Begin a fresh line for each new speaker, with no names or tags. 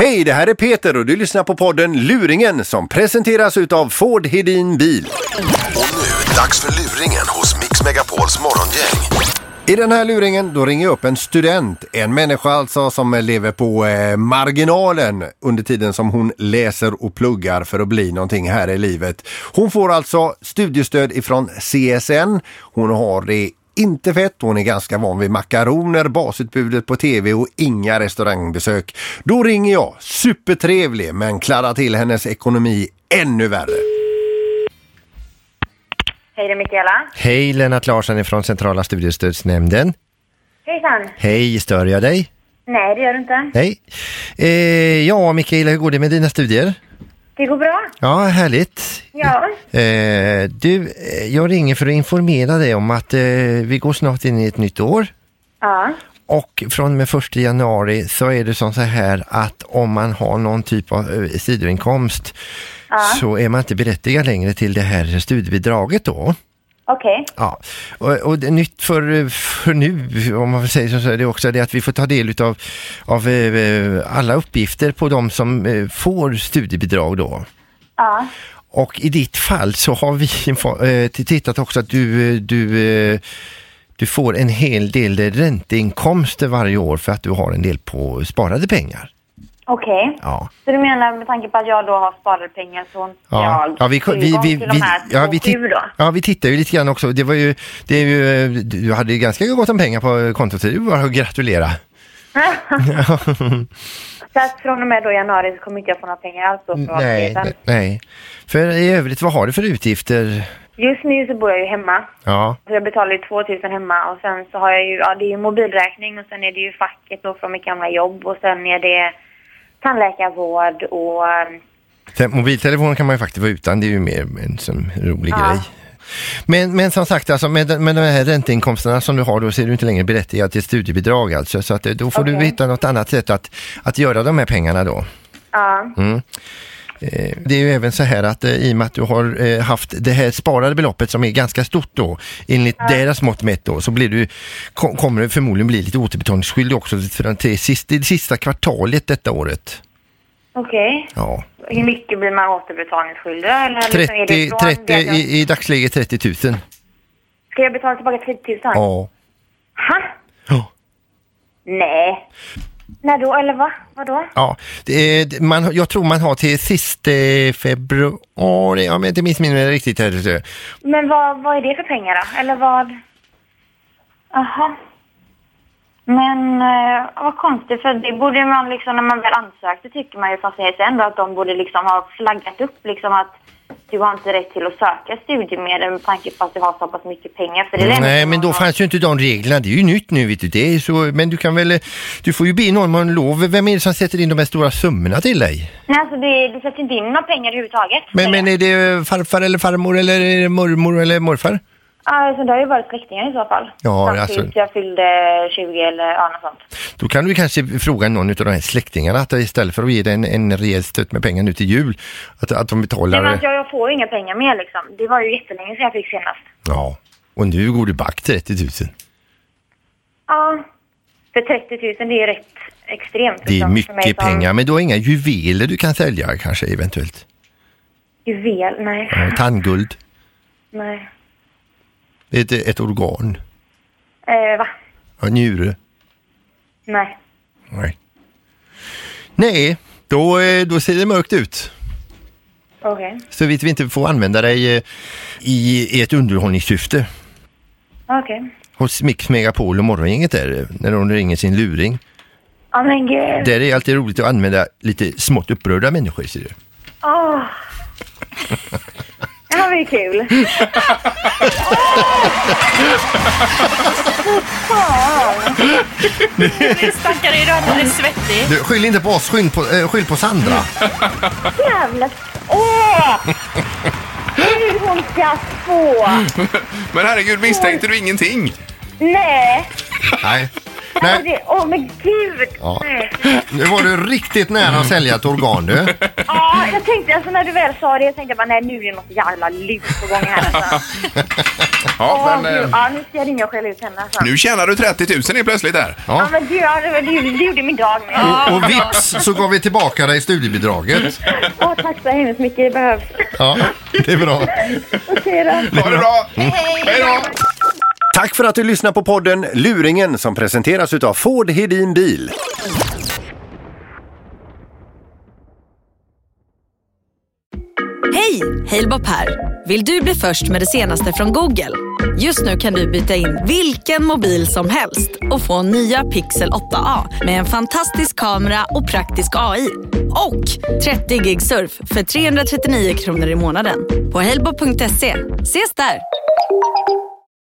Hej, det här är Peter och du lyssnar på podden Luringen som presenteras utav Ford Hedin Bil.
Och nu, dags för luringen hos Mix Megapols morgongäng.
I den här luringen då ringer jag upp en student, en människa alltså som lever på eh, marginalen under tiden som hon läser och pluggar för att bli någonting här i livet. Hon får alltså studiestöd ifrån CSN. Hon har det inte fett, hon är ganska van vid makaroner, basutbudet på tv och inga restaurangbesök. Då ringer jag, supertrevlig, men klarar till hennes ekonomi ännu värre.
Hej, det är Mikaela.
Hej, Lennart Larsson från Centrala studiestödsnämnden.
Hejsan.
Hej, stör jag dig?
Nej, det gör du inte.
Nej. Eh, ja, Mikaela, hur går det med dina studier?
Det går bra.
Ja, härligt.
Ja.
Eh, du, eh, jag ringer för att informera dig om att eh, vi går snart in i ett nytt år.
Ja.
Och från och med 1 januari så är det som så här att om man har någon typ av eh, sidoinkomst så är man inte berättigad längre till det här studiebidraget då.
Okej.
Ja, och, och det är nytt för, för nu, om man säger så, så är det också det att vi får ta del utav, av eh, alla uppgifter på de som eh, får studiebidrag då.
Ja.
Och i ditt fall så har vi info- eh, t- tittat också att du, eh, du, eh, du får en hel del ränteinkomster varje år för att du har en del på sparade pengar.
Okej.
Ja.
Så du menar med tanke på att jag då har sparade pengar så
Ja, ja, vi,
tillgång
vi, vi,
till de
vi,
här
ja,
två
vi,
sju då?
titt, ja, vi tittar ju lite grann också. Det var ju, det är ju, du hade ju ganska gott om pengar på kontot, så det är bara att gratulera.
så att från och med då i januari så kommer inte jag få några pengar alls då från
Nej,
ATP:n.
nej. För i övrigt, vad har du för utgifter?
Just nu så bor jag ju hemma.
Ja,
Så jag betalar ju 2000 hemma och sen så har jag ju, ja det är ju mobilräkning och sen är det ju facket då från mitt gamla jobb och sen är det tandläkarvård och eh,
te- mobiltelefon kan man ju faktiskt vara utan, det är ju mer en sån rolig
Ja.
grej. Men, men som sagt, alltså med, de- med de här ränteinkomsterna som du har då så är du inte längre berättigad till studiebidrag alltså. Så att, eh, då får du
Okej.
hitta något annat sätt att, att göra de här pengarna då.
ja,
Eh, Det är ju även så här att eh, i och med att du har eh, haft det här sparade beloppet som är ganska stort då, enligt deras mått mätt då, så blir du, ko- kommer du förmodligen bli lite återbetalningsskyldig också för den till sist, det sista kvartalet detta året.
okej.
Ja.
Hur mycket blir man återbetalningsskyldig? Eller liksom är
30,
det från det
30
att jag-
i, i dagsläget 30 000.
Ska jag betala tillbaka 30 000?
Ja.
Ha?
Ja.
Nej. När då? Eller va? Vadå?
Ja, det är, det- man, jag tror man har till sista februari, ja, men inte minst mindre riktigt här.
Men vad, vad är det för pengar då? Eller vad? Aha. Men eh, vad konstigt, för det borde man liksom, när man väl ansökte tycker man ju från CSN då att de borde liksom ha flaggat upp liksom att du har inte rätt till att söka studiemedel med tanke på att du har så pass mycket pengar. För det är det enda
Mm, Nej,
som
men
man
då
har-
fanns ju inte de reglerna. Det är ju nytt nu, vet du. Det är så, men du kan väl, eh, du får ju be någon om lov. Vem är det som sätter in de här stora summorna till dig?
Nej, alltså det, det sätts inte in några pengar överhuvudtaget.
Men, men är det farfar eller farmor eller är det mormor eller
Ja,
morfar?
Alltså, det har ju varit släktingar i så fall.
Ja,
Fram
alltså-
tills jag fyllde 20 eller ja, något sånt.
Då kan du kanske fråga någon av de här släktingarna att istället för att ge dig en, en rejäl stöt med pengar nu till jul, att, att de betalar.
Men alltså, jag, jag får ju inga pengar mer liksom. Det var ju jättelänge sedan jag fick senast.
Ja, och nu går du back 30 000.
Ja, för 30 000 det är ju rätt extremt.
Det
liksom, för
är
mig
mycket
som
pengar, men du har inga juveler du kan sälja kanske eventuellt.
Juvel, nej.
Ja, Tandguld,
nej.
ett, ett organ,
Eh, va?
en njure.
Nej.
Nej. Nej, då, eh, då ser det mörkt ut.
Okej.
Så vitt vi inte får använda dig eh, i ett underhållningssyfte
Okej.
hos Mix Megapol och Morgongänget där, eh, när de ringer sin luring.
Ja, men gud.
Där är det alltid roligt att använda lite smått upprörda människor, ser du.
Åh. Det här var ju kul.
Stackare, är du alldeles svettig?
du skyll inte på oss, skyll på, eh, skyll på Sandra.
Jävla... Åh! Hur hon ska få!
Men herregud, misstänkte du ingenting?
Nej!
Nej.
Åh,
Nej,
det- Åh, men gud!
Ja.
Nej.
nu var du riktigt nära att sälja ett organ du.
Ja, jag tänkte alltså när du väl sa det, jag tänkte bara nej nu är det något jävla lurt på gång här alltså.
Ja,
Åh,
men,
gud,
eh,
ja, nu ska jag ringa och skälla ut henne. Alltså.
nu tjänar du 30 000 helt plötsligt här.
Ja, men gud, ja, det, det, det gjorde min dag med.
Och vips så gav vi tillbaka dig studiebidraget.
Åh, tack så hemskt mycket, det behövs.
Ja, det är bra.
Okej då.
Ha det bra! Hej då!
Tack för att du lyssnar på podden Luringen som presenteras utav Ford Hedin Bil.
Hej! Halebop här. Vill du bli först med det senaste från Google? Just nu kan du byta in vilken mobil som helst och få nya Pixel 8A med en fantastisk kamera och praktisk AI. Och 30 gig surf för 339 kronor i månaden på halebop.se. Ses där!